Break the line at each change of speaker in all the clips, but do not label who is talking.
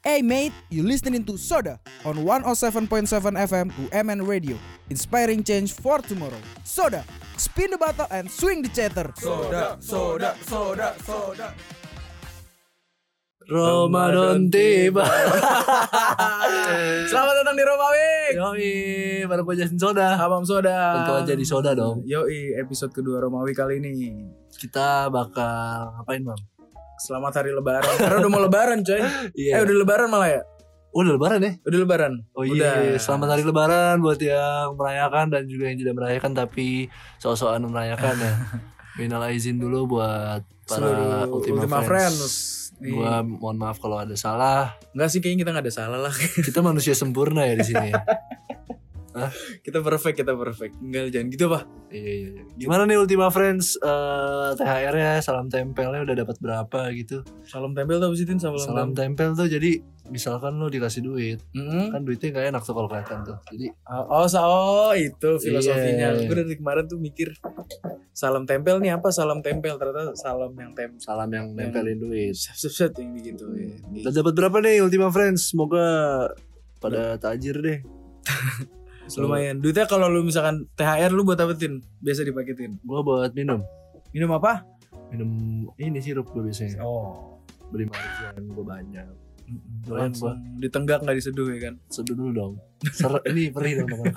Hey mate, you listening to Soda on 107.7 FM UMN Radio, inspiring change for tomorrow. Soda, spin the bottle and swing the chatter.
Soda, soda, soda, soda.
Ramadan tiba.
Selamat datang di Romawik.
Yoi, Iya, baru gua jelasin soda.
Abang Soda.
Tentu aja di soda dong.
Yoi, episode kedua Romawi kali ini.
Kita bakal ngapain bang?
Selamat hari lebaran. Karena udah mau lebaran, coy. Eh, udah lebaran malah ya?
udah lebaran ya?
Udah lebaran.
Iya. Oh iya,
Udah.
selamat hari lebaran buat yang merayakan dan juga yang tidak merayakan tapi sosokan merayakan ya. Minal izin dulu buat para
Seluruh
Ah, Ultima, Friends.
Oh,
Iya.
Nih.
Gua mohon maaf kalau ada salah.
Enggak sih kayaknya kita nggak ada salah lah.
Kita manusia sempurna ya di sini. ya.
kita perfect, kita perfect. Enggak jangan gitu, Pak.
Iya, iya, iya. Gimana nih Ultima Friends eh, THR-nya, salam tempelnya udah dapat berapa gitu?
Salam tempel tuh visitin salam.
Salam tempel tuh jadi misalkan lo dikasih duit
Mm-mm.
kan duitnya gak enak tuh kalau kelihatan tuh jadi
Oh, sa- oh, itu filosofinya.
Iya.
Gue dari kemarin tuh mikir salam tempel nih apa salam tempel ternyata salam yang tempel.
salam yang nempelin duit
Set set set yang gitu. ya.
udah Iya. dapat berapa nih Ultima Friends semoga pada tajir deh
Gitu. Lumayan. Duitnya kalau lu misalkan THR lu buat apa tin? Biasa dipaketin.
gue buat minum
Minum apa?
minum ini sirup gue biasanya
Oh.
beli marijuana gue banyak Doyan
Langsung ditenggak nggak diseduh ya kan?
seduh dulu dong Ser- ini perih dong teman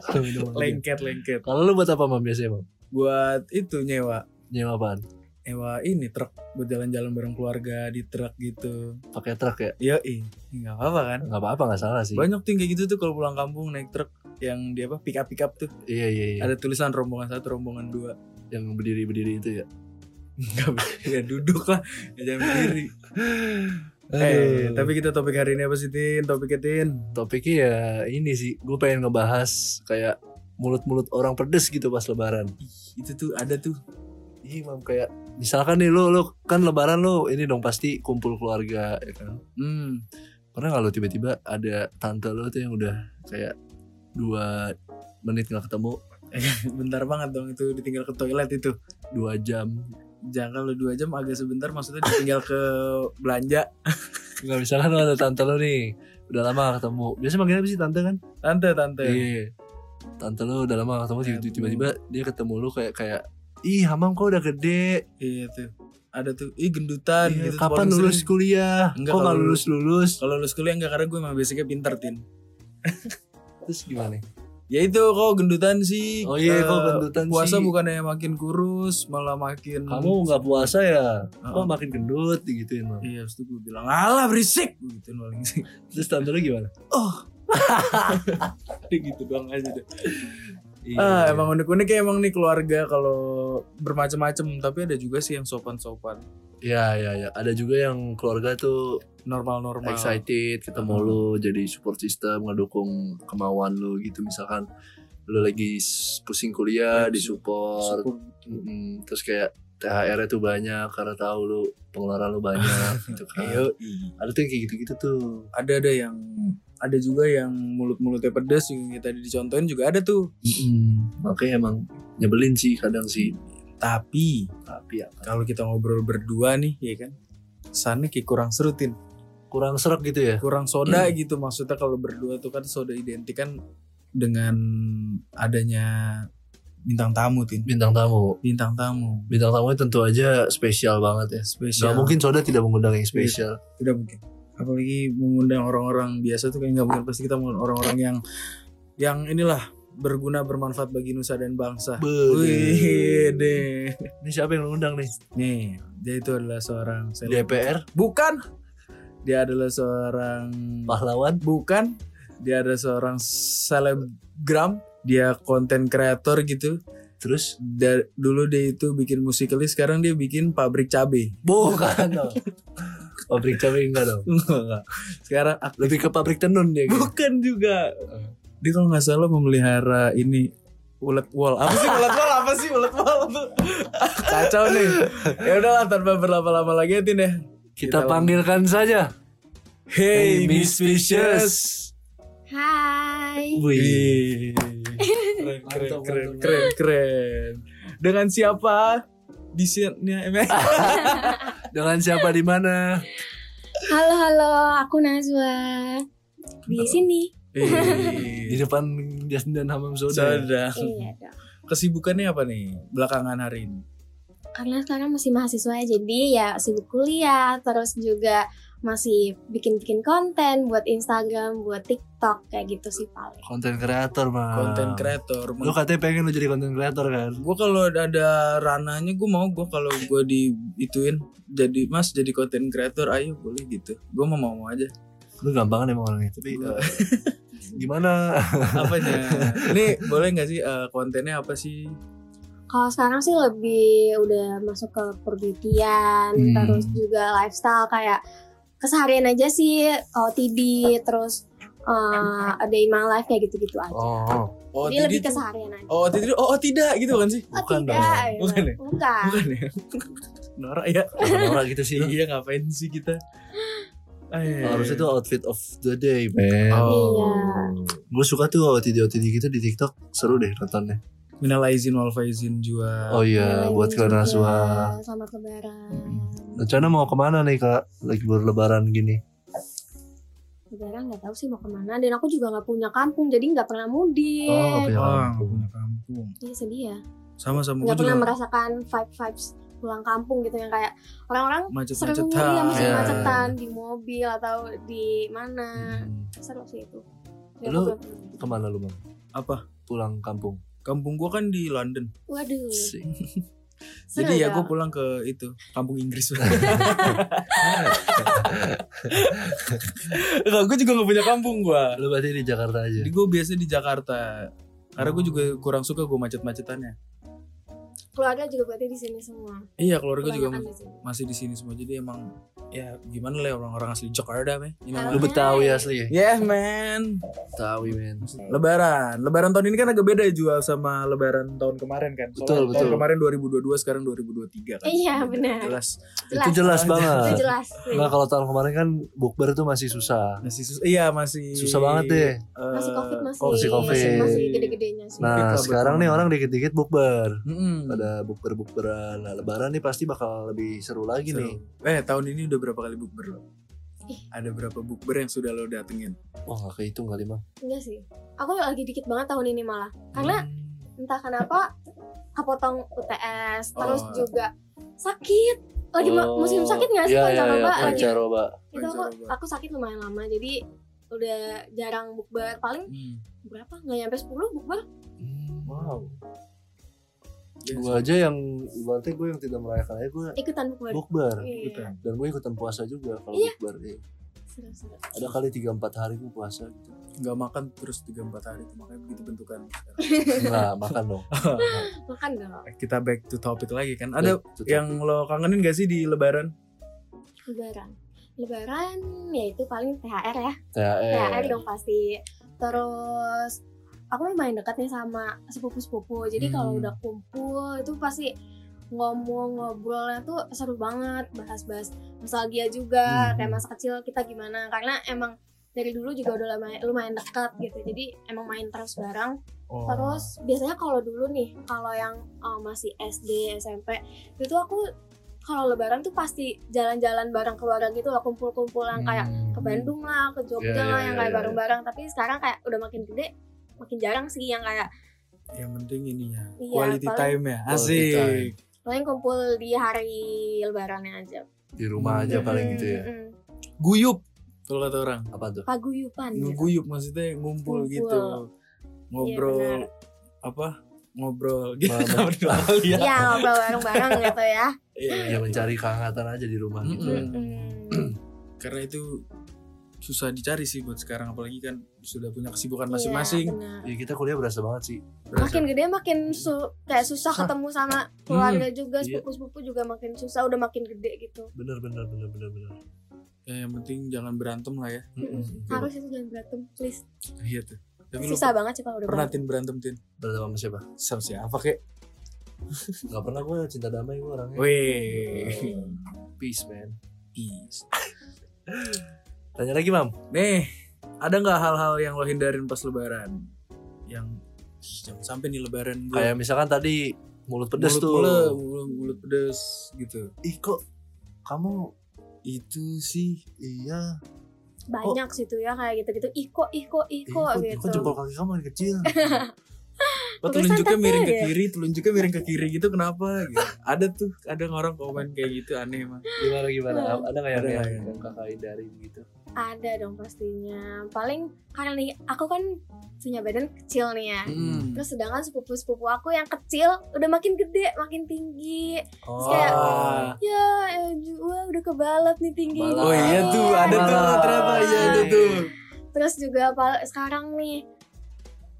Kalau minum lagi.
Lengket lengket.
kalau lu buat apa mam biasanya mam
Buat itu nyewa
nyewa apaan
nyewa ini truk buat jalan-jalan bareng keluarga di truk gitu.
pakai truk ya
Iya ih, nggak apa-apa kan?
nggak apa-apa nggak salah sih
Banyak tuh yang kayak gitu tuh kalau pulang kampung naik truk yang dia apa pick up pick up tuh.
iya iya iya
Ada tulisan rombongan satu, rombongan dua.
yang berdiri berdiri itu ya
Enggak ya duduk lah, ya jangan berdiri. eh,
Aduh.
tapi kita topik hari ini apa sih Tin? Topiknya Tin.
topiknya ya ini sih gue pengen ngebahas kayak mulut-mulut orang pedes gitu pas lebaran
Ih, itu tuh ada tuh.
Ih mam kayak misalkan nih lu lu kan lebaran lu ini dong pasti kumpul keluarga ya kan
Hmm.
pernah nggak lu tiba-tiba ada tante lu tuh yang udah kayak dua menit nggak ketemu
Bentar banget dong itu ditinggal ke toilet itu.
dua jam
Jangan lu dua jam agak sebentar maksudnya ditinggal ke belanja.
nggak misalkan lu ada tante lu nih udah lama nggak ketemu biasanya manggilnya apa sih tante kan
Tante, tante.
iya tante lu udah lama nggak ketemu tiba-
Aduh.
tiba-tiba dia ketemu lu kayak kayak ih hamam kok udah gede
Iya tuh. Ada tuh. Ih, gendutan
Iya,
gitu. tuh
kapan
paling sering.
lulus kuliah?
Enggak,
Kok
kalau
nggak lulus lulus?
Kalau lulus kuliah enggak karena gue emang basicnya pinter, Tin.
Terus gimana?
Ya itu kok gendutan sih.
Oh iya,
Eh,
kok gendutan
Puasa
sih.
bukannya makin kurus, malah makin
Kamu nggak puasa ya? Kok
Heeh.
makin gendut digituin Mam?
Iya, habis itu gue bilang, alah berisik Gue gituin paling sih
Terus tante lu gimana?
Udah gitu doang aja deh
Iya.
ah, Emang unik-unik ya emang nih keluarga kalau bermacam-macam Tapi ada juga sih yang sopan-sopan
Iya iya iya. Ada juga yang keluarga tuh
Normal-normal
excited ketemu
Heeh.
lu jadi support system ngedukung kemauan lu gitu misalkan lu lagi s- pusing
Iya,
kuliah disupport.
Syukur.
Mm-mm. Terus kayak THR-nya tuh banyak karena tahu lu pengeluaran lu banyak gitu kan.
Yoi.
Ada tuh yang kayak gitu-gitu tuh.
Ah, Ada ada yang ada juga yang mulut-mulutnya pedas yang kayak tadi dicontohin juga ada tuh
Hmm, Makanya emang nyebelin sih kadang sih.
tapi
Tapi ya
kalau kita ngobrol berdua nih ya kan kesannya kayak kurang serutin
kurang serak gitu ya.
kurang soda gitu maksudnya kalau berdua tuh kan soda identik kan dengan adanya bintang tamu tin
Bintang tamu.
bintang tamu
Bintang tamunya tentu aja spesial banget ya. Gak
spesial
mungkin soda tidak mengundang yang spesial.
tidak mungkin apalagi mengundang orang-orang biasa tuh kayak nggak mungkin pasti kita mengundang orang-orang yang yang inilah berguna bermanfaat bagi nusa dan bangsa Wih,
Wih,
deh.
Ini siapa yang mengundang nih?
Nih, dia itu adalah seorang seleb-
DPR,
Bukan. Dia adalah seorang
pahlawan.
bukan dia ada seorang selebgram dia konten kreator gitu
Terus
Da- dulu dia itu bikin musikali sekarang dia bikin pabrik cabe
bukan dong. pabrik cabai enggak dong.
sekarang ak-
Lebih ke pabrik tenun dia. gitu.
bukan juga Iya. Eh. dia kalau nggak salah memelihara ini ulet wall apa sih ulet wall apa sih ulet wall tuh kacau nih ya udahlah tanpa berlama-lama lagi ya Tin ya
Kita panggilkan saja.
hey, Miss
Vicious.
Vicious
Hai.
Ih.
Wih.
keren keren
Mantap,
keren
mantap.
keren keren dengan siapa di sini
Dengan siapa di mana?
Halo halo, aku Nazwa. Di sini.
Ih,
di depan Justin dan Hamam Soda.
Saudara,
Iya dong.
kesibukannya apa nih belakangan hari ini?
Karena sekarang masih mahasiswa jadi ya sibuk kuliah, terus juga masih bikin-bikin konten buat Instagram, buat TikTok kayak gitu sih paling.
Konten kreator, Bang.
Konten kreator.
Lu katanya pengen lu jadi konten kreator kan?
Gue kalau ada- ada ranahnya gue mau gue kalau gue di ituin jadi mas jadi konten kreator ayo boleh gitu. Gue mau mau aja.
Lu gampangan emang orangnya, tapi eh, gimana?
Apanya? Ini boleh nggak sih eh, kontennya apa sih?
Kalau sekarang sih lebih udah masuk ke perbegian,
Hmm.
terus juga lifestyle kayak keseharian aja sih OTD, terus eh a day in my life kayak gitu-gitu aja.
Oh,
Oh
Jadi lebih
tidak.
keseharian aja.
Oh tidak. Oh, oh, tidak gitu kan sih?
Oh,
bukan
tidak,
dong.
ya.
Bukan ya?
Bukan.
Bukan ya. Norak ya.
orang gitu sih. lu.
Iya ngapain sih kita? Eh.
Oh, Harusnya tuh outfit of the day, man.
Oh.
Gue suka tuh OTD-OTD gitu di TikTok, seru deh nontonnya.
Minal aizin wal faizin juga.
Oh iya,
Kalian
buat kalian
juga.
Naswa.
Selamat lebaran.
Rencana mau kemana nih kak? Lagi baru lebaran gini.
Lebaran nggak tahu sih mau kemana dan aku juga nggak punya kampung jadi nggak pernah mudik.
Oh,
Wah,
punya
nggak
kampung.
punya kampung.
Iya sedih ya.
Sama-sama
Nggak
gue
pernah
juga
merasakan vibe vibes pulang kampung gitu yang kayak orang-orang seru
macet-macetan.
ya masih
Iya.
macetan di mobil atau di mana
Hmm.
seru sih itu.
Lu-
aku belum pernah.
Kemana lu bang?
Apa?
Pulang kampung.
Kampung gua kan di London.
Waduh. Seru
Jadi ya gue
dong.
pulang ke itu kampung Inggris. Enggak, gue juga gak punya kampung gua.
Lu berarti di Jakarta aja.
Jadi gue biasa di Jakarta. Karena gue juga kurang suka gue macet-macetannya.
keluarga juga berarti di sini semua.
Iya keluarga juga
Kebanyakan di sini.
masih di sini semua. Jadi emang ya gimana lah ya orang-orang asli Jakarta meh. You know what
Lu
Ah.
I mean?
Betawi asli ya?
Yeah man.
Betawi men.
Lebaran. Lebaran tahun ini kan agak beda ya jual sama lebaran tahun kemarin kan.
Betul,
Tahun
betul.
kemarin 2022 sekarang 2023 kan.
Iya, benar.
Jelas.
Itu jelas
Itu
banget.
jelas. sih.
Nah kalau tahun kemarin kan bukber tuh masih susah.
Masih sus- iya masih
Susah banget deh.
eh,
Masih covid masih
masih covid.
masih gede-gedenya sih.
Nah
Kita
sekarang nih
berteman.
orang dikit-dikit bukber.
mm-mm.
Ada bukber-bukberan. Nah lebaran nih pasti bakal lebih seru lagi
Seru.
nih.
Eh tahun ini udah berapa kali bukber lo?
Ih.
Ada berapa bukber yang sudah lo datengin?
Wah gak kehitung kali bang.
Enggak sih. Aku lagi dikit banget tahun ini malah. Karena
Hmm.
entah kenapa kepotong UTS terus
Oh.
juga sakit. Lagi ma-
Oh,
musim sakit gak sih
Iya iya
pancaroba
iya
lagi?
pancaroba.
Itu aku
Pancaroba.
aku sakit lumayan lama jadi udah jarang bukber paling
Hmm.
berapa nggak nyampe 10 bukber
Wow.
Iya
Gue aja yang ibaratnya gue yang tidak merayakan aja gue
ikutan bukber.
bukber
sih, gitu.
Iya.
dan gue ikutan puasa juga kalau
Iya.
bukber iya.
Seru-seru.
ada kali tiga empat hari gue puasa gitu
Nggak makan terus 3-4 hari itu makanya begitu bentukan.
nah makan dong
Makan dong.
Kita back to topic lagi kan. Ada
Tuh, tuh.
yang lo kangenin gak sih di lebaran?
Lebaran. Lebaran yaitu paling THR ya.
Iya.
THR
THR
dong pasti. Terus aku lumayan dekat nih sama sepupu-sepupu. Jadi kalau
Hmm.
udah kumpul itu pasti ngomong ngobrolnya tuh seru banget bahas-bahas nostalgia juga
Hmm.
kayak masa kecil kita gimana karena emang dari dulu juga udah lumayan, lumayan dekat gitu jadi emang main terus bareng
Oh.
terus biasanya kalau dulu nih kalau yang eh, masih SD SMP itu aku kalau lebaran tuh pasti jalan-jalan bareng keluarga gitu loh kumpul-kumpulan kayak
Hmm.
ke Bandung lah, ke Jogja
Iya, iya,
lah yang
iya,
kayak
iya.
bareng-bareng. Tapi sekarang kayak udah makin gede, makin jarang sih yang kayak
Yang penting ini ya
Iya,
quality
paling-
time ya.
Quality
Asik.
paling kumpul di hari lebarannya aja.
di rumah
iya.
aja paling gitu ya
Mm-mm.
Guyup kalau kata orang.
apa tuh
Paguyupan gitu.
ngeguyup maksudnya ngumpul
Ngumpul.
gitu
Iya,
ngobrol
benar.
apa ngobrol gitu
Mama-
Iya.
Iya, ngobrol bareng-bareng gitu ya.
ya mencari kehangatan aja di rumah gitu ya.
Mm-mm.
Mm.
karena itu susah dicari sih buat sekarang apalagi kan sudah punya kesibukan
Iya,
masing-masing
benar.
ya kita kuliah berasa banget sih
makin gede makin su- kayak susah
Susah.
ketemu sama keluarga juga
iya.
sepupu-sepupu juga makin susah udah makin gede gitu
bener bener bener bener bener
Ya, yang penting jangan berantem lah ya
Mm-mm.
harus itu jangan berantem please
iya tuh tapi lu
susah banget sih kalau udah
pernah
berantem
tin berantem tin
Berarti sama siapa?
sama siapa kek
Gak pernah gue cinta damai gue orangnya
weh
Peace man
Peace.
Tanya lagi mam
nih ada nggak hal-hal yang lo hindarin pas lebaran yang "Ih, jangan sampai nih lebaran gue
Kayak misalkan tadi Iya. mulut pedes
mulut,
tuh
mulut, mulut, mulut pedes gitu
Ih kok kamu
itu sih iya
banyak situ ya kayak gitu-gitu iko iko iko
Oh. Ih, iya, kok- kok
gitu
jempol kaki kamu dari kecil
Kok Oh,
Tulisan
telunjuknya
kaki
miring ke
aja.
kiri, telunjuknya miring ke kiri gitu kenapa? Gitu. Ada tuh, ada orang komen kayak gitu aneh emang.
gimana gimana ada nggak yang
Ada nggak
yang-
ya?
yang kakak hindari gitu
ada dong pastinya paling karena nih aku kan punya badan kecil nih ya
Hmm.
terus sedangkan sepupu-sepupu aku yang kecil udah makin gede makin tinggi
Oh.
kayak, ya juga udah kebalat nih tinggi
Kebalat.
Oh iya tuh, ada tuh
Malah.
ternyata iya ada tuh.
terus juga pal- sekarang nih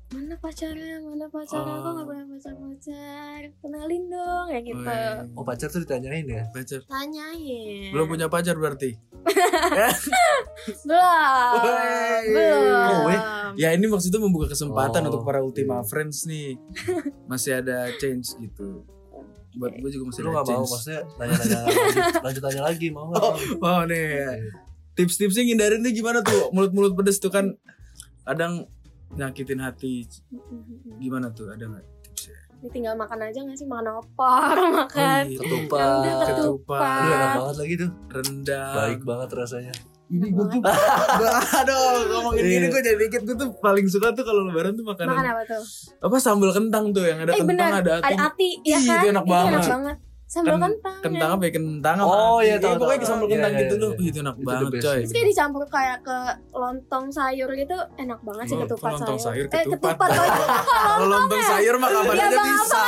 mana pacarnya mana pacarnya aku
Oh.
nggak punya pacar pacar kenalin dong ya gitu
Weh,
oh pacar tuh ditanyain
iya,
ya
pacar.
tanyain
Belum punya pacar berarti?
belum
Weh.
belum
Oh, weh. Ya ini maksudnya membuka kesempatan
Oh,
untuk para Ultima
iya.
Friends nih. Masih ada change gitu. Buat gue juga masih
lu
ada
nggak mau
change.
maksudnya nanya-nanya lanjut, lanjut tanya lagi mau nggak
Oh, mau nih. ya. Tips-tipsnya ngindarin tuh gimana tuh? Mulut-mulut pedes tuh kan kadang nyakitin hati.
Mhm.
Gimana tuh? Ada nggak tipsnya?
ditinggal makan aja nggak sih makan opor
Oh, iya.
makan yang udah
ketupat
Kan ketupat
Aduh, enak banget lagi tuh
rendang.
baik banget rasanya
Ini gue tuh, aduh ngomongin
Iya.
gini gue jadi dikit gue tuh paling suka tuh kalau lebaran tuh makanan
makan apa tuh
apa sambal kentang tuh yang ada
eh
kentang
benar
ada
ada
ati.
ati ya
Ih,
kan
itu enak banget.
sambal
Ken-
kentang
kentang apa ya kentang apa
Oh,
ati.
iya, tahu,
Iya, pokoknya
tahu,
sambal
tahu.
kentang
Iya,
gitu
iya,
loh
iya.
itu enak
Itu the
banget
best.
coy
Terus kayak dicampur kayak ke lontong sayur gitu enak banget sih
Oh,
ketupat
lontong sayur,
eh
ketupat.
ketupat oh, iya.
kalau lontong sayur mah kapan
Iya,
aja
bang,
bisa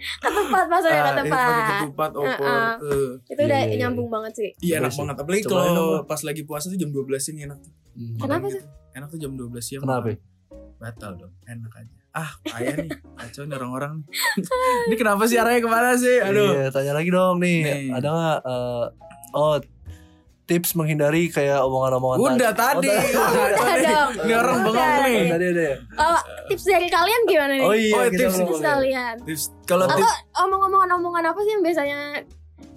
ketupat maksudnya
Ah, iya, pakai
ketupat
ketupat opor
Heeh.
eh,
itu udah
Iya.
nyambung banget sih Eh,
iya enak
Coba sih.
banget apalagi
Cobain dong,
kalau pas lagi puasa tuh jam 12 siang enak tuh
Hmm.
Kenapa
Makan gitu. enak tuh jam 12 siang
kenapa
makan. batal dong enak aja ah payah nih kacau nih orang-orang nih. ini kenapa sih arahnya kemana sih aduh
Iya, tanya lagi dong nih.
Nih.
Ada nggak eh, oh tips menghindari kayak omongan-omongan Oh,
Udah tadi.
Iya.
Udah dong.
Ini orang
Udah
bengong nih.
nih.
Tadi ada ya?
Oh, tips dari kalian gimana nih
Oh iya,
Iya. Oh,
kita
tips.
belum
tips
ngomongin.
kalian
Tips kalau
Atau-
tips
omong-omongan omongan apa sih yang biasanya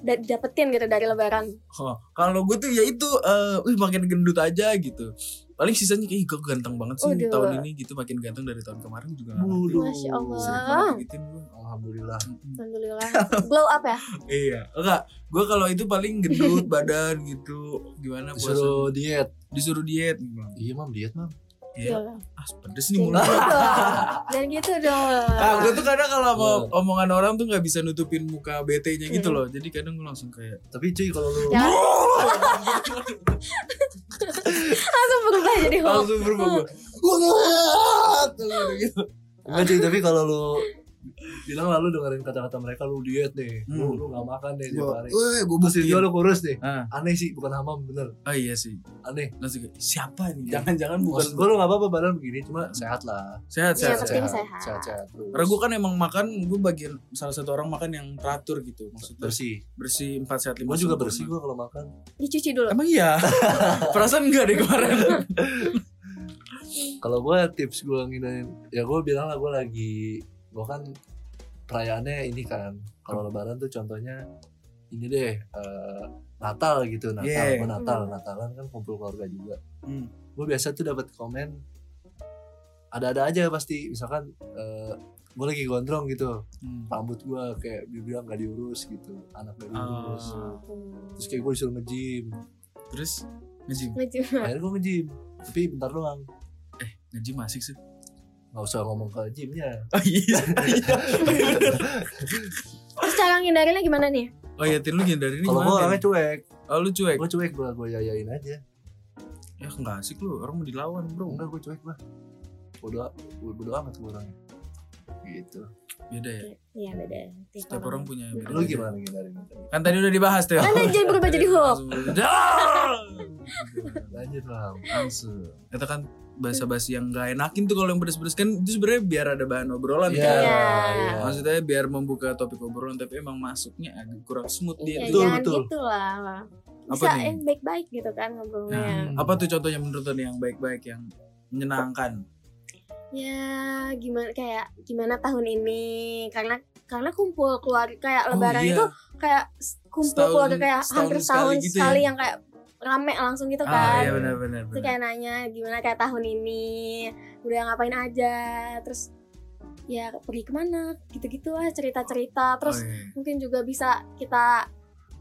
da- dapetin gitu dari lebaran
oh, kalau gue tuh ya itu eh, wih makin gendut aja gitu. Paling sisanya kayak "Ih, gue ganteng banget sih
Waduh.
tahun ini gitu makin ganteng dari tahun kemarin juga. nggak ngerti.
Waduh.
Masya Allah.
Sering banget gituin gue.
Alhamdulillah.
alhamdulillah blow up ya
Iya, enggak. Gue kalau itu paling gendut badan gitu. Gimana puasa?
Disuruh diet.
disuruh diet. Gua bilang,
Iya, Mam, diet, Mam.
Iya.
Iyalah.
Ah, pedes nih
Jangan
mulut.
gitu dong. Jangan gitu dong.
Nah,
Ah, gue tuh kadang kalau mau omongan orang tuh nggak bisa nutupin muka BT-nya gitu
Hmm.
loh. Jadi kadang gue langsung kayak
Tapi cuy kalau lu
Jangan. Langsung berubah jadi hoax.
langsung berubah gue. Gue ngelat. Gitu.
Enggak cuy, tapi kalau lu bilang lalu dengerin kata-kata mereka lu diet nih. Lu
Hmm.
lu gak makan nih tiap
Gua-
hari.
Weh, gue
Terus
buktiin.
juga lu kurus nih.
Ah,
Aneh sih, bukan hamam bener.
oh iya sih.
Aneh.
Langsung kayak siapa nih? Jangan-jangan bukan
Maksud gue lu gak apa-apa badan begini, cuma sehat lah.
sehat
Iya,
sehat.
pasti
sehat.
bisa. sehat.
Sehat-sehat.
Karena gue kan emang makan gue bagian salah satu orang makan yang teratur gitu. Maksudnya
bersih.
bersih 4 sehat 5.
Gue juga bersih gue kalau makan.
Dicuci dulu.
Emang iya. Perasaan enggak deh kemarin.
Kalau gue tips gue ngindarin, ya gue bilang lah gue lagi, gue kan perayaannya ini kan. Kalau Lebaran tuh contohnya ini deh eh, Natal gitu, Natal,
Yeah.
Gua Natal,
Hmm.
Natalan kan kumpul keluarga juga.
Hmm.
Gue biasa tuh dapat komen ada-ada aja pasti, misalkan gue lagi gondrong gitu, rambut gue kayak dibilang gak diurus gitu, anak gak diurus.
Hmm. Ah,
Terus kayak gue disuruh nge-gym,
terus nge-gym.
Nge-gym.
akhirnya gue nge-gym, tapi bentar doang.
Nge-gym asik sih.
Gak usah ngomong ke gymnya,
Oh iya.
Terus cara ngindarinnya gimana nih?
Oh iya, Tin lu dari ini
Kalau gue
gimana?
orangnya
Tin?
cuek,
Oh lu cuek.
gue cuek gue gue yayain aja. Oh,
Ya enggak asik lu, orang mau dilawan, Bro.
Enggak gue cuek gue. Bodo bodo, bodo amat gue orangnya. Gitu.
Beda ya.
Iya beda. Tiap
Setiap orang punya beda.
Lu gimana ngindarin?
Kan tadi udah dibahas tuh.
Kan tadi jadi berubah jadi hoax.
Lanjut lah.
langsung itu kan bahasa basi yang gak enakin tuh kalau yang pedes-pedes kan itu sebenarnya biar ada bahan obrolan
Iya.
kan
Iya.
maksudnya biar membuka topik obrolan tapi emang masuknya agak kurang smooth
Ya,
dia
Betul,
tuh
jangan
betul.
gitu lah.
Apa
Bisa
nih? Nah.
yang baik-baik gitu kan ngobrolnya.
Hmm.
apa tuh contohnya menurut lo nih yang baik-baik yang menyenangkan
Ya gimana kayak gimana tahun ini karena karena kumpul keluarga kayak lebaran
iya.
itu kayak s- kumpul
Setahun-
keluarga kayak
setahun
hampir
sekali
setahun
gitu
sekali,
ya?
yang kayak rame langsung gitu
ah
kan.
iya benar-benar
Terus kayak nanya gimana kayak tahun ini udah ngapain aja terus ya pergi kemana gitu-gitu lah cerita-cerita
Oh,
terus
iya.
mungkin juga bisa kita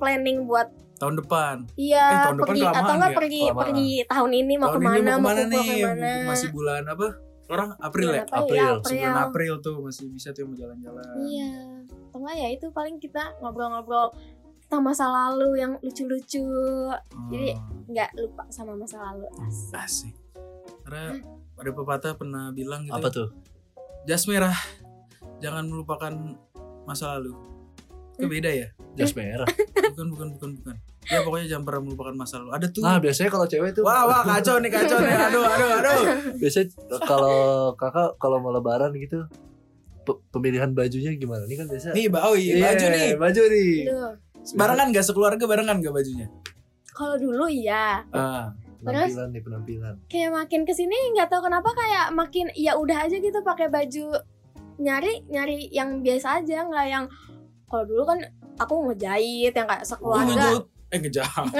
planning buat
tahun depan.
Iya,
Eh, tahun depan
pergi
kelamaan
atau enggak
ya?
pergi
Kelamaan.
pergi tahun ini mau
tahun ini
kemana
mau kemana
kumpul
nih? Masih bulan apa? Orang April
Bulan
ya?
apa ya?
April,
April.
Masih bulan April tuh masih bisa tuh mau jalan-jalan.
Iya. Atau enggak ya itu paling kita ngobrol-ngobrol tentang masa lalu yang lucu-lucu.
Hmm,
Jadi- Nggak lupa sama masa lalu.
Iya.
Asik.
asik. Karena
Hmm.
ada pepatah pernah bilang gitu.
apa
ya,
tuh
Jas merah. Jangan melupakan masa lalu. Itu beda ya?
jas merah
Bukan, bukan, bukan, bukan. Ya pokoknya jangan pernah melupakan masa lalu. Ada tuh.
nah biasanya kalau cewek tuh
Wah, wah kacau nih, kacau nih. Aduh, aduh, aduh.
biasanya kalau kakak kalau mau lebaran gitu pe- pemilihan bajunya gimana nih kan biasa
Nih, ba- oh iya, baju nih.
baju nih
Aduh,
Barengan gak sekeluarga barengan gak bajunya?
kalau dulu iya,
Ah,
penampilan nih penampilan
kayak makin kesini nggak tahu kenapa kayak makin ya udah aja gitu pakai baju nyari nyari yang biasa aja nggak yang kalau dulu kan aku ngejahit yang kayak sekeluarga
Tuh, tuh, tuh. eh ngejahit.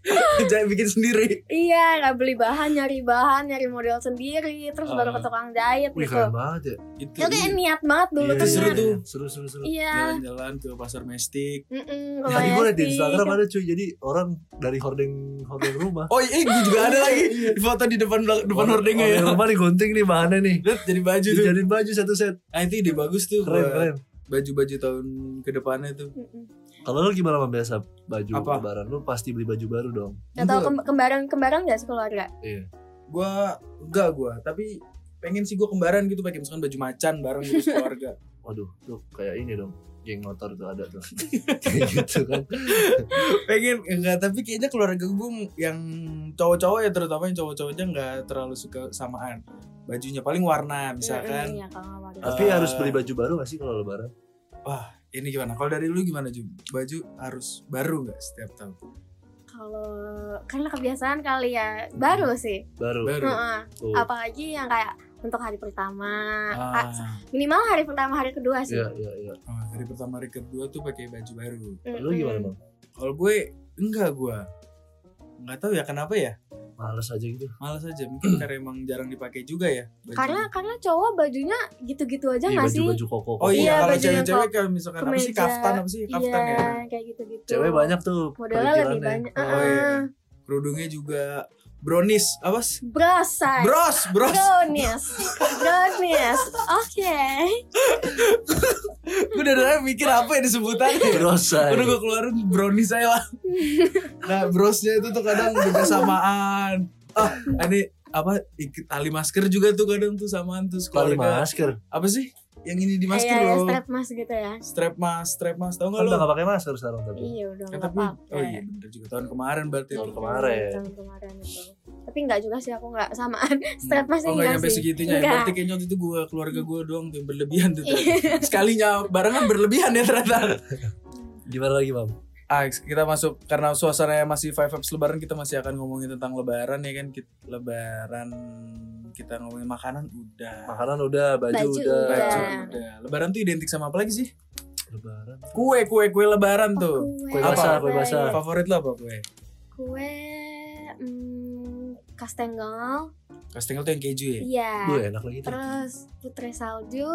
ngejahit bikin sendiri.
iya nggak beli bahan nyari bahan nyari model sendiri terus baru ke
Ah.
tukang jahit
wih
gitu
keren banget ya
Itu
Ya kayak niat banget dulu
Iya,
tuh.
seru
Nat.
tuh.
seru seru seru
Iya.
jalan-jalan ke pasar mestik.
Mm-mm,
Tapi gue Iya, liat di
kebayang
Instagram kan.
sih.
ada cuy, jadi orang dari hordeng hordeng rumah.
Oh iya, gue juga ada lagi. Di Iya. foto Iya. di depan belak- depan hordengnya ya. Gitu.
Hordeng rumah digunting nih bahannya nih.
Lihat jadi baju tuh.
Dijadiin baju satu set.
Ah itu ide bagus tuh.
Keren
buat
keren.
Baju-baju tahun ke depannya tuh.
Mm-mm.
Kalau lu gimana Mam, biasa baju
Apa?
lebaran lu pasti beli baju baru dong.
Gak tau kem- kembaran-kembaran gak sekeluarga?
Iya.
Gua enggak gua, tapi pengen sih gua kembaran gitu pakai misalkan baju macan bareng gitu keluarga.
Waduh, tuh kayak ini dong. Geng motor tuh ada tuh. Kayak gitu kan.
pengen enggak tapi kayaknya keluarga gue yang cowok-cowok ya terutama yang cowok-cowoknya enggak terlalu suka samaan bajunya paling warna
Mm-mm,
misalkan
Iya kalau nggak warna.
Tapi
Eh.
harus beli baju baru gak sih kalau lebaran?
iya.
ini gimana kalau dari lu gimana Ju? baju harus baru nggak setiap tahun
Kalau karena kebiasaan kali ya baru sih.
Baru.
baru
Heeh.
Tuh.
Apalagi yang kayak untuk hari pertama,
ah,
Ah, minimal hari pertama hari kedua sih.
Iya, iya, iya.
ah, hari pertama hari kedua tuh pakai baju baru
Mm-mm.
Lu gimana, Bang?
kalau gue enggak gue nggak tahu ya kenapa ya
Males aja gitu.
malas aja mungkin karena emang jarang dipakai juga ya baju.
Karena karena cowok bajunya gitu-gitu aja
Iya,
nggak sih?
baju-baju koko.
oh iya,
Iya,
kalau
baju yang
cewek-cewek kalau misalkan apa sih
kemeja.
kaftan apa sih
Iya,
kaftan ya
kayak gitu-gitu.
Cewek banyak tuh
Modelnya lebih
perintilannya.
banyak.
Oh,
Heeh.
iya. kerudungnya juga brownies apa sih
Brosai.
bros bros
Brownies, brownies, oke.
gue dari tadi mikir apa yang
Iya,
disebutannya
Brosai.
Udah gue keluarin brownies saya lah Nah brosnya itu tuh kadang juga samaan Ah ini apa ik- tali masker juga tuh kadang tuh samaan tuh
Tali
keluarga
masker.
Apa sih yang ini di masker
Iya, ya,
loh
strap mas gitu ya.
Strap mas, strap mas tau gak
Kan
lo?
udah gak pakai masker sekarang tapi.
Iya udah
Ya,
nggak Iya,
tapi,
pakai.
oh iya bener juga tahun kemarin berarti
Tahun
itu.
kemarin.
Tahun kemarin itu. Tapi nggak juga sih aku nggak samaan. Strap mas
Oh
enggak,
gak nyampe
sih.
segitunya ya
Nggak. Iya.
Berarti kayaknya waktu itu gue keluarga gue doang tuh yang berlebihan tuh ternyata. Sekalinya barengan berlebihan ya ternyata
Gimana lagi, Mam?
Ah, kita masuk karena suasananya masih five vibes lebaran kita masih akan ngomongin tentang lebaran ya kan Kit- lebaran kita ngomongin makanan udah
Makanan udah, baju,
Baju
udah.
udah.
Baju, udah lebaran tuh identik sama apa lagi sih
Lebaran.
kue kue kue lebaran
Oh,
tuh
Kue
Apa?
basah,
Apa?
kue basah.
favorit lo apa kue
Kue hmm, kastengel.
kastengel tuh yang keju ya
Iya.
Gue enak lagi tuh.
Terus putri salju.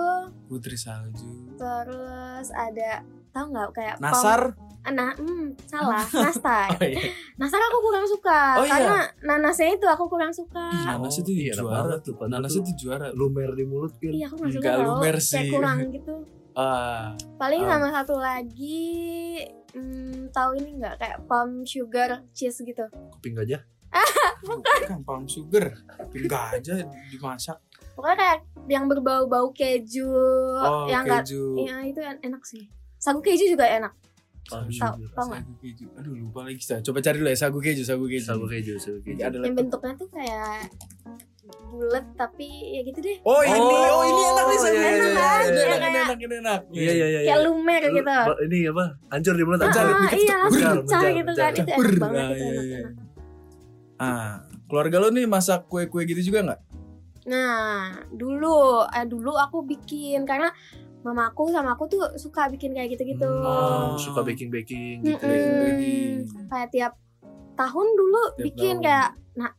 putri salju
Terus ada tahu nggak kayak pom-
nasar
Eh, Nah, hmm, salah. Nastar.
oh, iya.
Nastar aku kurang suka
Oh, iya.
karena nanasnya itu aku kurang suka.
Ih, nanas itu
iya, enak
juara
banget tuh. Padahal
nanas
tuh
itu juara
lumer di mulut kan.
Iya aku nggak suka
Nggak
tau.
lumer
Kayak
sih.
kurang gitu
ah
Paling
Ah.
sama satu lagi hmm, tahu ini nggak kayak palm sugar cheese gitu
Kuping gajah.
bukan palm sugar enggak aja dimasak
Pokoknya kayak yang berbau-bau keju
oh
Yang nggak
keju
Iya itu en- enak sih Sagu keju juga enak
Palm
Sagu-
Tau,
sugar.
tau nggak?
sagu keju aduh lupa lagi Sa. coba cari dulu ya sagu keju sagu keju
Sagu keju, sagu keju.
Iya, Ada
Yang
laptop.
bentuknya tuh kayak bulat tapi ya gitu deh
Oh ini, oh,
Oh,
ini enak nih
iya,
sebenarnya.
iya,
Ini
iya,
enak, ini
iya.
enak, ini enak, ini enak.
Iya, iya, iya.
Kayak lumer
Lu-
gitu
ba- Ini apa? Hancur di mulut.
Ah,
Mencari,
ah,
dikit
iya
tuh,
langsung
mencar,
pecah gitu
mencar.
kan itu
Ber,
enak banget
nah,
itu
iya,
enak,
iya.
enak.
Ah, keluarga lo nih masak kue-kue gitu juga nggak?
Nah, dulu, eh, dulu aku bikin karena mamaku sama aku tuh suka bikin kayak gitu-gitu.
Hmm,
Oh, suka baking baking gitu.
gitu. Mm-mm.
baking.
Kayak tiap tahun dulu
iya, Tiap
bikin
tahun.
kayak nah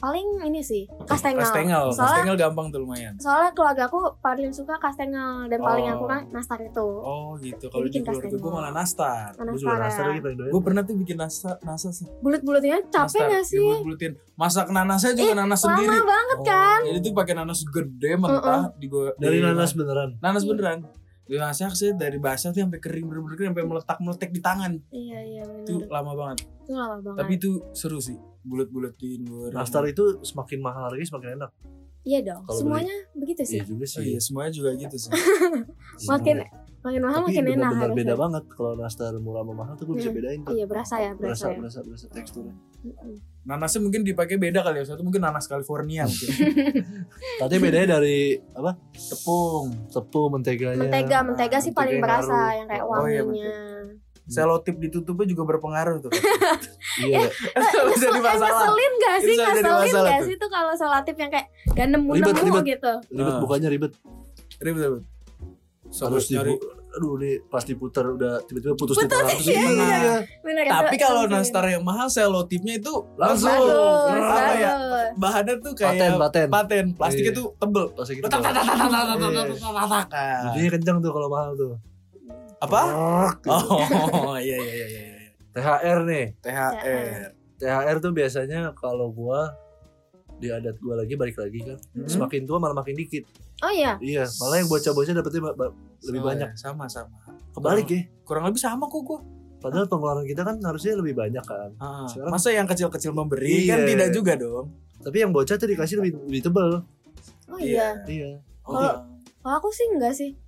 paling ini sih kastengel.
Kastengel,
Soalnya
kastengel gampang tuh lumayan.
soalnya keluarga aku paling suka kastengel dan paling
Oh.
aku kurang nastar itu.
Oh gitu. Kalau di
Bikin
keluarga gue
kastengel.
malah nastar.
Karena
Gue juga
Sarah.
nastar lagi paling doyan.
Gue pernah tuh bikin nastar, nastar sih.
Bulut-bulutnya capek
nastar,
gak sih?
dibulutin. Masak nanasnya juga
Ih,
nanas sendiri.
Lama banget
Oh,
kan?
Jadi tuh pakai nanas gede mentah di gua
Dari
di-
nanas beneran.
Nanas beneran. Dimasak sih dari basah tuh sampai kering bener-bener kering, sampai meletak meletek di tangan.
Iya iya
Itu
benar.
lama banget.
Itu lama banget.
Tapi itu seru sih. Bulat-bulatin. goreng.
Nastar itu semakin mahal harganya semakin enak.
iya dong.
Kalau
Semuanya begitu sih.
Iya juga
Oh iya,
sih.
semuanya juga gitu sih. Iya,
Makin makin mahal
Tapi
makin enak
benar-benar
harusnya.
beda banget kalau nastar murah sama mahal tuh gue bisa
Iya.
bedain tuh.
Iya berasa ya berasa.
Berasa,
ya.
berasa, berasa teksturnya.
Mm-mm.
Nanasnya mungkin dipakai beda kali ya. Satu mungkin nanas California mungkin.
Tapi bedanya dari apa?
Tepung.
Tepung, menteganya.
Mentega mentega
mentega
sih paling
yang
berasa
ngaruh.
yang kayak
Oh, iya,
wanginya.
Selotip ditutupnya juga berpengaruh tuh.
Iya.
Itu bisa jadi
Eh,
masalah.
ngeselin gak
Itu
sih?
bisa jadi
Ngeselin
masalah
gak
tuh.
sih tuh kalau solatif yang kayak gak nemu
Ribet,
nemu
ribet.
gitu.
Ribet
Ah.
bukannya ribet.
Ribet ribet.
Harus
Sobat nyari-
dibu- Aduh ini pas diputar udah tiba-tiba putus di
Putus,
tengah. Terus
iya,
gimana?
iya.
Bener kan?
Tapi
Itu
kalau
ngeselin.
nastar yang mahal selotipnya itu
Langsung.
langsung.
bagus,
Apa
bagus.
ya? Bahannya tuh
Paten,
kayak
paten.
paten, plastiknya
Iya.
tuh tebel.
Pas gitu.
Letak, letak, letak, letak, letak, letak,
Iya.
letak, letak.
Bunyinya kencang tuh kalau mahal tuh.
Apa? Oh, iya iya iya iya. iya.
THR nih.
E.
THR.
THR tuh biasanya kalau gua di adat gua lagi balik lagi kan
Hmm.
Mm-hmm.
semakin tua malah makin dikit
Oh iya.
iya malah yang bocah-bocah dapetnya ba- ba- lebih
Oh,
banyak
iya. sama sama.
kebalik ya
Kurang lebih sama kok gua.
padahal pengeluaran kita kan harusnya lebih banyak kan
Ah,
Sekarang-
masa yang kecil-kecil memberi kan
Iya.
tidak juga dong.
tapi yang bocah tuh dikasih lebih, lebih tebel
Oh iya.
iya
Oh,
Kalau- Kalau aku sih enggak sih.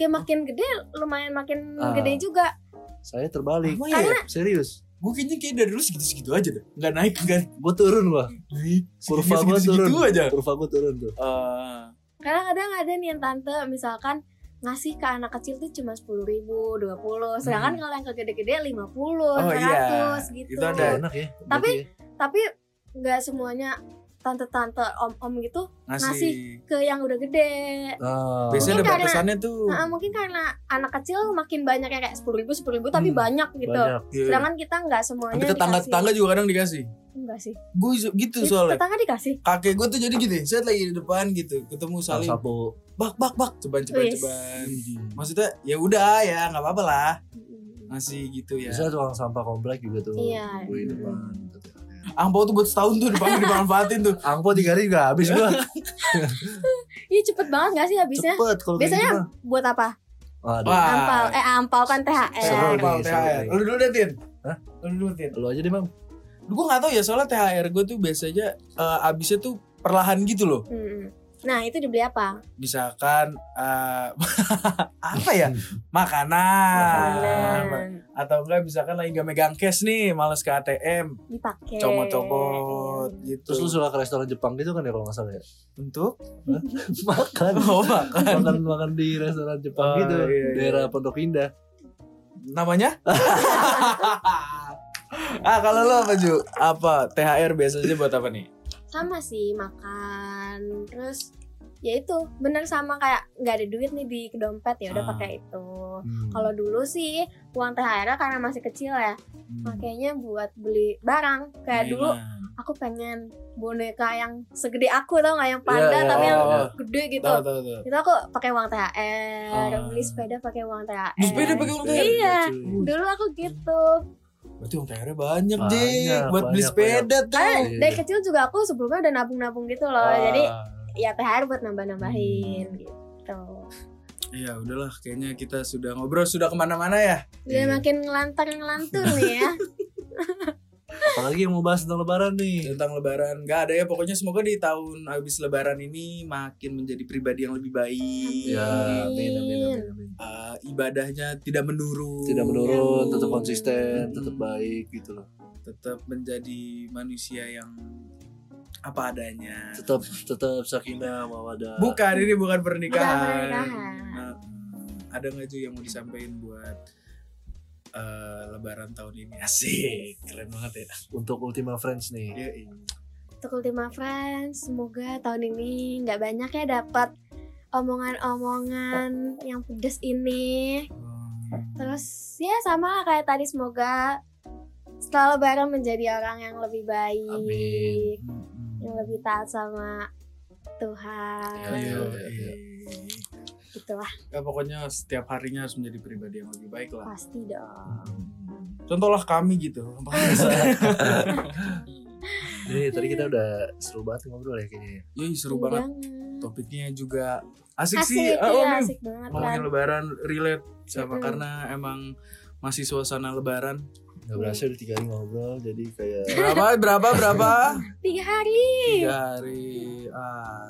Kayak makin gede lumayan makin
Ah.
gede juga.
saya terbalik
Emang
Eh,
ya?
Karena-
serius
Gue kayaknya kayak dari dulu segitu-segitu aja deh. Nggak naik, kan? nggak
gua turun gua
naik.
Kurva gua
Segitu-segitu
turun.
aja.
kurva gua turun tuh
Ah,
Karena kadang ada nih yang tante misalkan ngasih ke anak kecil tuh cuma sepuluh ribu, dua puluh. Sedangkan kalau yang ke gede-gede lima puluh,
Hmm. Oh, iya.
seratus gitu.
Itu ada.
Kayak enak ya
Tapi-
berarti ya.
Tapi nggak semuanya tante-tante om-om gitu Ngasih.
ngasih.
ke yang udah gede.
Ah.
Biasanya ada
Mungkin karena-
batasannya tuh.
Nah, mungkin karena anak kecil makin banyak yang kayak sepuluh ribu, sepuluh ribu tapi
Hmm,
banyak gitu.
banyak
Iya.
Sedangkan kita nggak semuanya
Tapi tetangga-tetangga juga kadang dikasih.
dikasih. Enggak sih.
Gue gitu soalnya.
Tetangga dikasih.
Kakek gue tuh jadi gitu. Saya lagi di depan gitu, ketemu
salah
saling
sapu
bak bak bak ceban ceban
Wis.
ceban. Maksudnya ya udah ya nggak apa-apa lah ngasih gitu ya.
bisa tukang sampah komplek juga tuh
Iya.
Gua di depan gitu.
Angpau Ah, tuh buat setahun tuh dipakai dimanfaatin tuh.
angpo tiga hari juga habis gua
Iya cepet banget nggak sih habisnya?
cepet kalau kayak
Biasanya-
gitu mah.
Buat apa?
Waduh.
Ampal,
Wah.
eh ampal kan
Seru
THR.
nih.
Angpau, THR. Lu dulu deh Tin.
Hah?
Lu dulu Tin.
Lu aja deh bang
Gue gak tau ya soalnya THR gue tuh biasanya eh, abisnya tuh perlahan gitu loh.
Mm-mm. Nah itu dibeli apa?
Misalkan eh, apa ya Ah, makanan,
Makanan
atau enggak misalkan lagi gak megang cash nih males ke ATM
dipakai.
comot-comot gitu.
Terus lu suka ke restoran Jepang gitu kan ya kalau nggak salah ya
untuk
Makan
oh, Pak.
Makan makan di restoran
Oh,
Jepang gitu
iya, iya.
Daerah Pondok Indah
namanya? ah kalau lu apa Ju? Apa THR biasanya buat apa nih?
Sama sih makan. Terus ya itu bener sama kayak nggak ada duit nih di dompet ya udah
Ah.
pakai itu.
Hmm.
Kalau dulu sih uang THR karena masih kecil ya,
Hmm.
makanya buat beli barang. Kayak dulu aku pengen boneka yang segede aku tau nggak yang panda
iya,
tapi yang
iya.
gede gitu.
Tahu tahu tahu.
Itu aku pakai uang THR,
Ah.
beli sepeda pakai uang THR.
Beli sepeda pakai uang THR?
Iya. Dulu aku gitu.
Berarti uang THR-nya banyak,
Banyak,
Jing. Buat beli
banyak,
sepeda tuh.
Iya,
Karena dari kecil juga aku sebelumnya udah nabung-nabung gitu loh.
Ah.
Jadi ya THR buat nambah-nambahin
Hmm.
gitu.
Iya, udahlah kayaknya kita sudah ngobrol sudah kemana mana ya.
Udah
Iya.
makin ngelantar-ngelantur nih ya.
Apalagi yang mau bahas tentang lebaran nih
Tentang lebaran nggak ada ya pokoknya semoga di tahun habis lebaran ini makin menjadi pribadi yang lebih baik.
Iya.
Ya, amin, amin, amin, amin.
Eh, ibadahnya tidak menurun.
Tidak menurun,
Amin.
tetap konsisten, tetap
Hmm.
baik gitu loh.
Tetap menjadi manusia yang apa adanya.
Tetap tetap sakinah mawadah.
Bukan, ini bukan
Iya.
pernikahan.
Bukan pernikahan.
Nah, ada nggak Ju yang mau disampaikan buat eh, Lebaran tahun ini? Asik, keren banget ya.
Untuk Ultima Friends nih.
Yoi.
Untuk Ultima Friends, semoga tahun ini nggak banyak ya dapat omongan-omongan yang pedes ini. Terus ya sama lah kayak tadi semoga setelah lebaran menjadi orang yang lebih baik.
Amin.
Hmm.
yang lebih taat sama Tuhan
Iya,
iya.
itulah
Ya, pokoknya setiap harinya harus menjadi pribadi yang lebih baik lah.
pasti dong
Contohlah kami gitu.
Jadi tadi kita udah seru banget ngobrol ya kayaknya. ya.
Yoi seru
Iya
banget.
banget.
Topiknya juga asik,
asik
sih.
iya,
Oh, Mim.
asik banget kan
Ngomongin lebaran relate sama
Mm-mm.
karena emang masih suasana lebaran.
Gak berasa udah tiga hari ngobrol jadi kayak
Berapa berapa berapa?
tiga hari
Iya.
Tiga hari. Ah.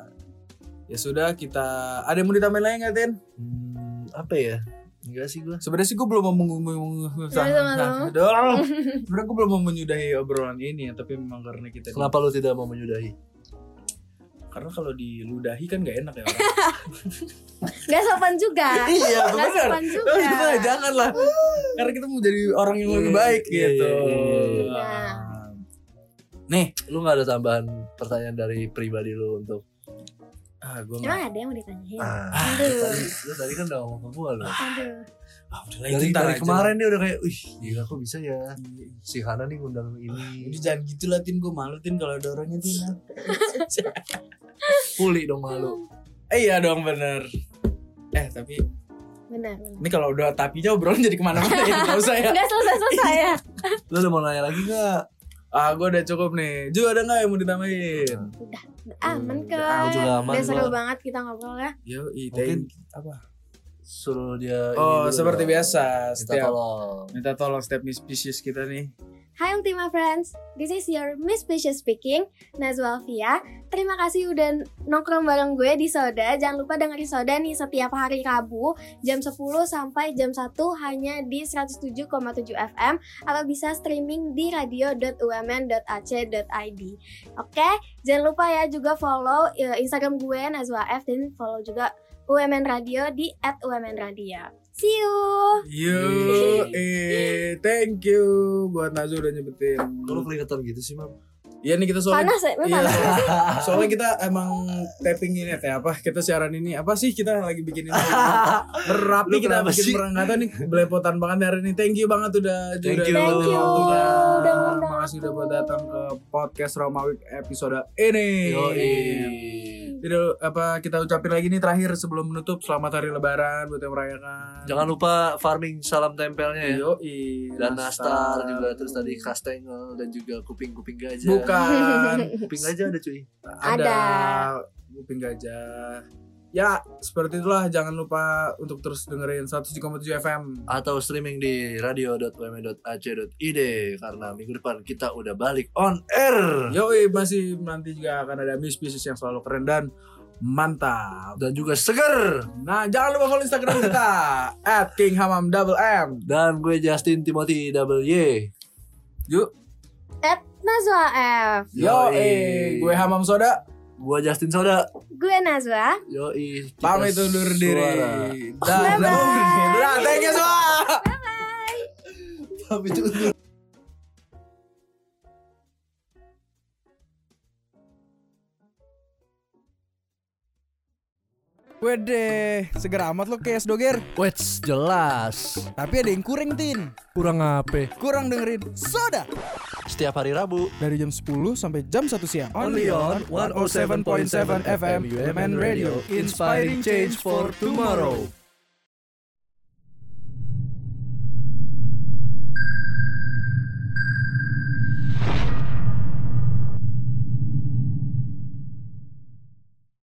Ya sudah kita ada yang mau ditambahin lagi nggak Tin?
hmm, apa ya? Enggak sih gue.
Sebenarnya sih gue belum mau mengumum
Jangan, jangan.
Sebenarnya gue belum mau menyudahi obrolan ini ya, tapi memang karena kita di-
Kenapa lu tidak mau menyudahi?
karena kalau diludahi kan gak enak ya. orang.
nggak sopan juga
iya,
nggak
benar.
sopan
Oh,
juga
iya, janganlah. Karena kita mau jadi orang yang lebih
Iya,
baik
iya,
gitu. Ah.
iya, iya,
iya.
Nih,
Lu nggak ada tambahan pertanyaan dari pribadi lu untuk
ah gue
emang ada yang mau ditanyain
ah,
aduh
tadi, lu tadi kan udah ngomong ke gue lu.
aduh
Alhamdulillah
Dari,
Nah, ntar
dari
aja.
kemarin nih udah kayak, wih gila kok bisa ya si Hana nih ngundang ini.
Ini Ah, jangan gitu lah Tin, gue malu Tin kalau ada orangnya Tin.
Puli dong malu.
eh, iya dong bener. Eh tapi,
benar benar
ini kalau udah tapinya obrolan jadi kemana-mana ya, gak usah ya.
nggak selesai selesai ya
Lu udah mau nanya lagi nggak?
Ah, gue udah cukup nih. Ju ada nggak yang mau ditambahin?
Ah.
aman
Udah,
kok
aku juga aman
udah seru
gua.
banget kita ngobrol ya
Yo,
Mungkin
apa?
Suruh dia. ini
Oh,
dulu
seperti
dong.
biasa
Minta
setiap
tolong.
minta tolong setiap Miss Species kita nih.
Hi Ultima Friends, this is your Miss Precious speaking, Nazwa Alfia. Terima kasih udah nongkrong bareng gue di Soda. Jangan lupa dengerin Soda nih setiap hari Rabu jam 10 sampai jam 1 hanya di 107,7 FM atau bisa streaming di radio.umn.ac.id. Oke, jangan lupa ya juga follow eh, Instagram gue Nazwa F dan follow juga UMN Radio di @umnradio. See you.
Yo, eh, thank you buat Nazo udah nyebutin.
Kalau keringetan gitu sih, Mam.
Iya nih kita soalnya
Panas ya,
Iya,
panas.
soalnya- soalnya kita emang tapping ini ya apa kita siaran ini apa sih kita lagi bikin ini berapi
Lu
kita
kenapa
bikin
sih?
perangkatan nih belepotan banget hari ini thank you banget udah udah
Thank you.
luangin
Thank you,
waktunya.
udah ngundang
makasih udah
aku.
buat datang ke podcast Roma Week episode ini
Yoi.
Jadi apa kita ucapin lagi nih terakhir sebelum menutup selamat hari lebaran buat yang merayakan.
Jangan lupa farming salam tempelnya ya.
Yoi,
Dan
nastar.
nastar juga terus tadi kastengel dan juga kuping-kuping gajah.
Bukan
Kuping gajah ada cuy.
ada kuping gajah. Ya, seperti itulah jangan lupa untuk terus dengerin 107,7 FM.
Atau streaming di radio.wm.ac.id karena minggu depan kita udah balik on air.
Yoi, masih nanti juga akan ada Miss Pieces yang selalu keren dan mantap.
Dan juga seger.
Nah, jangan lupa follow Instagram kita @kinghamam double M.
Dan gue Justin Timothy double Y.
Yuk,
At E, Nazwa e, F.
yoi, gue Hamam Soda.
Gue Justin Soda.
Gue Nazwa.
Yoi. kita
pamit undur
suara.
diri dan
Bye-bye.
dan thank you semua
Pamit undur
Wede, segera amat lo kayak doger.
Wets, jelas.
Tapi ada yang kuring tin.
Kurang apa?
Kurang dengerin Soda
Setiap hari Rabu. oh
dari jam 10 sampai jam 1 siang.
Only on 107.7 FM
UMN
UMN Radio, inspiring change for tomorrow.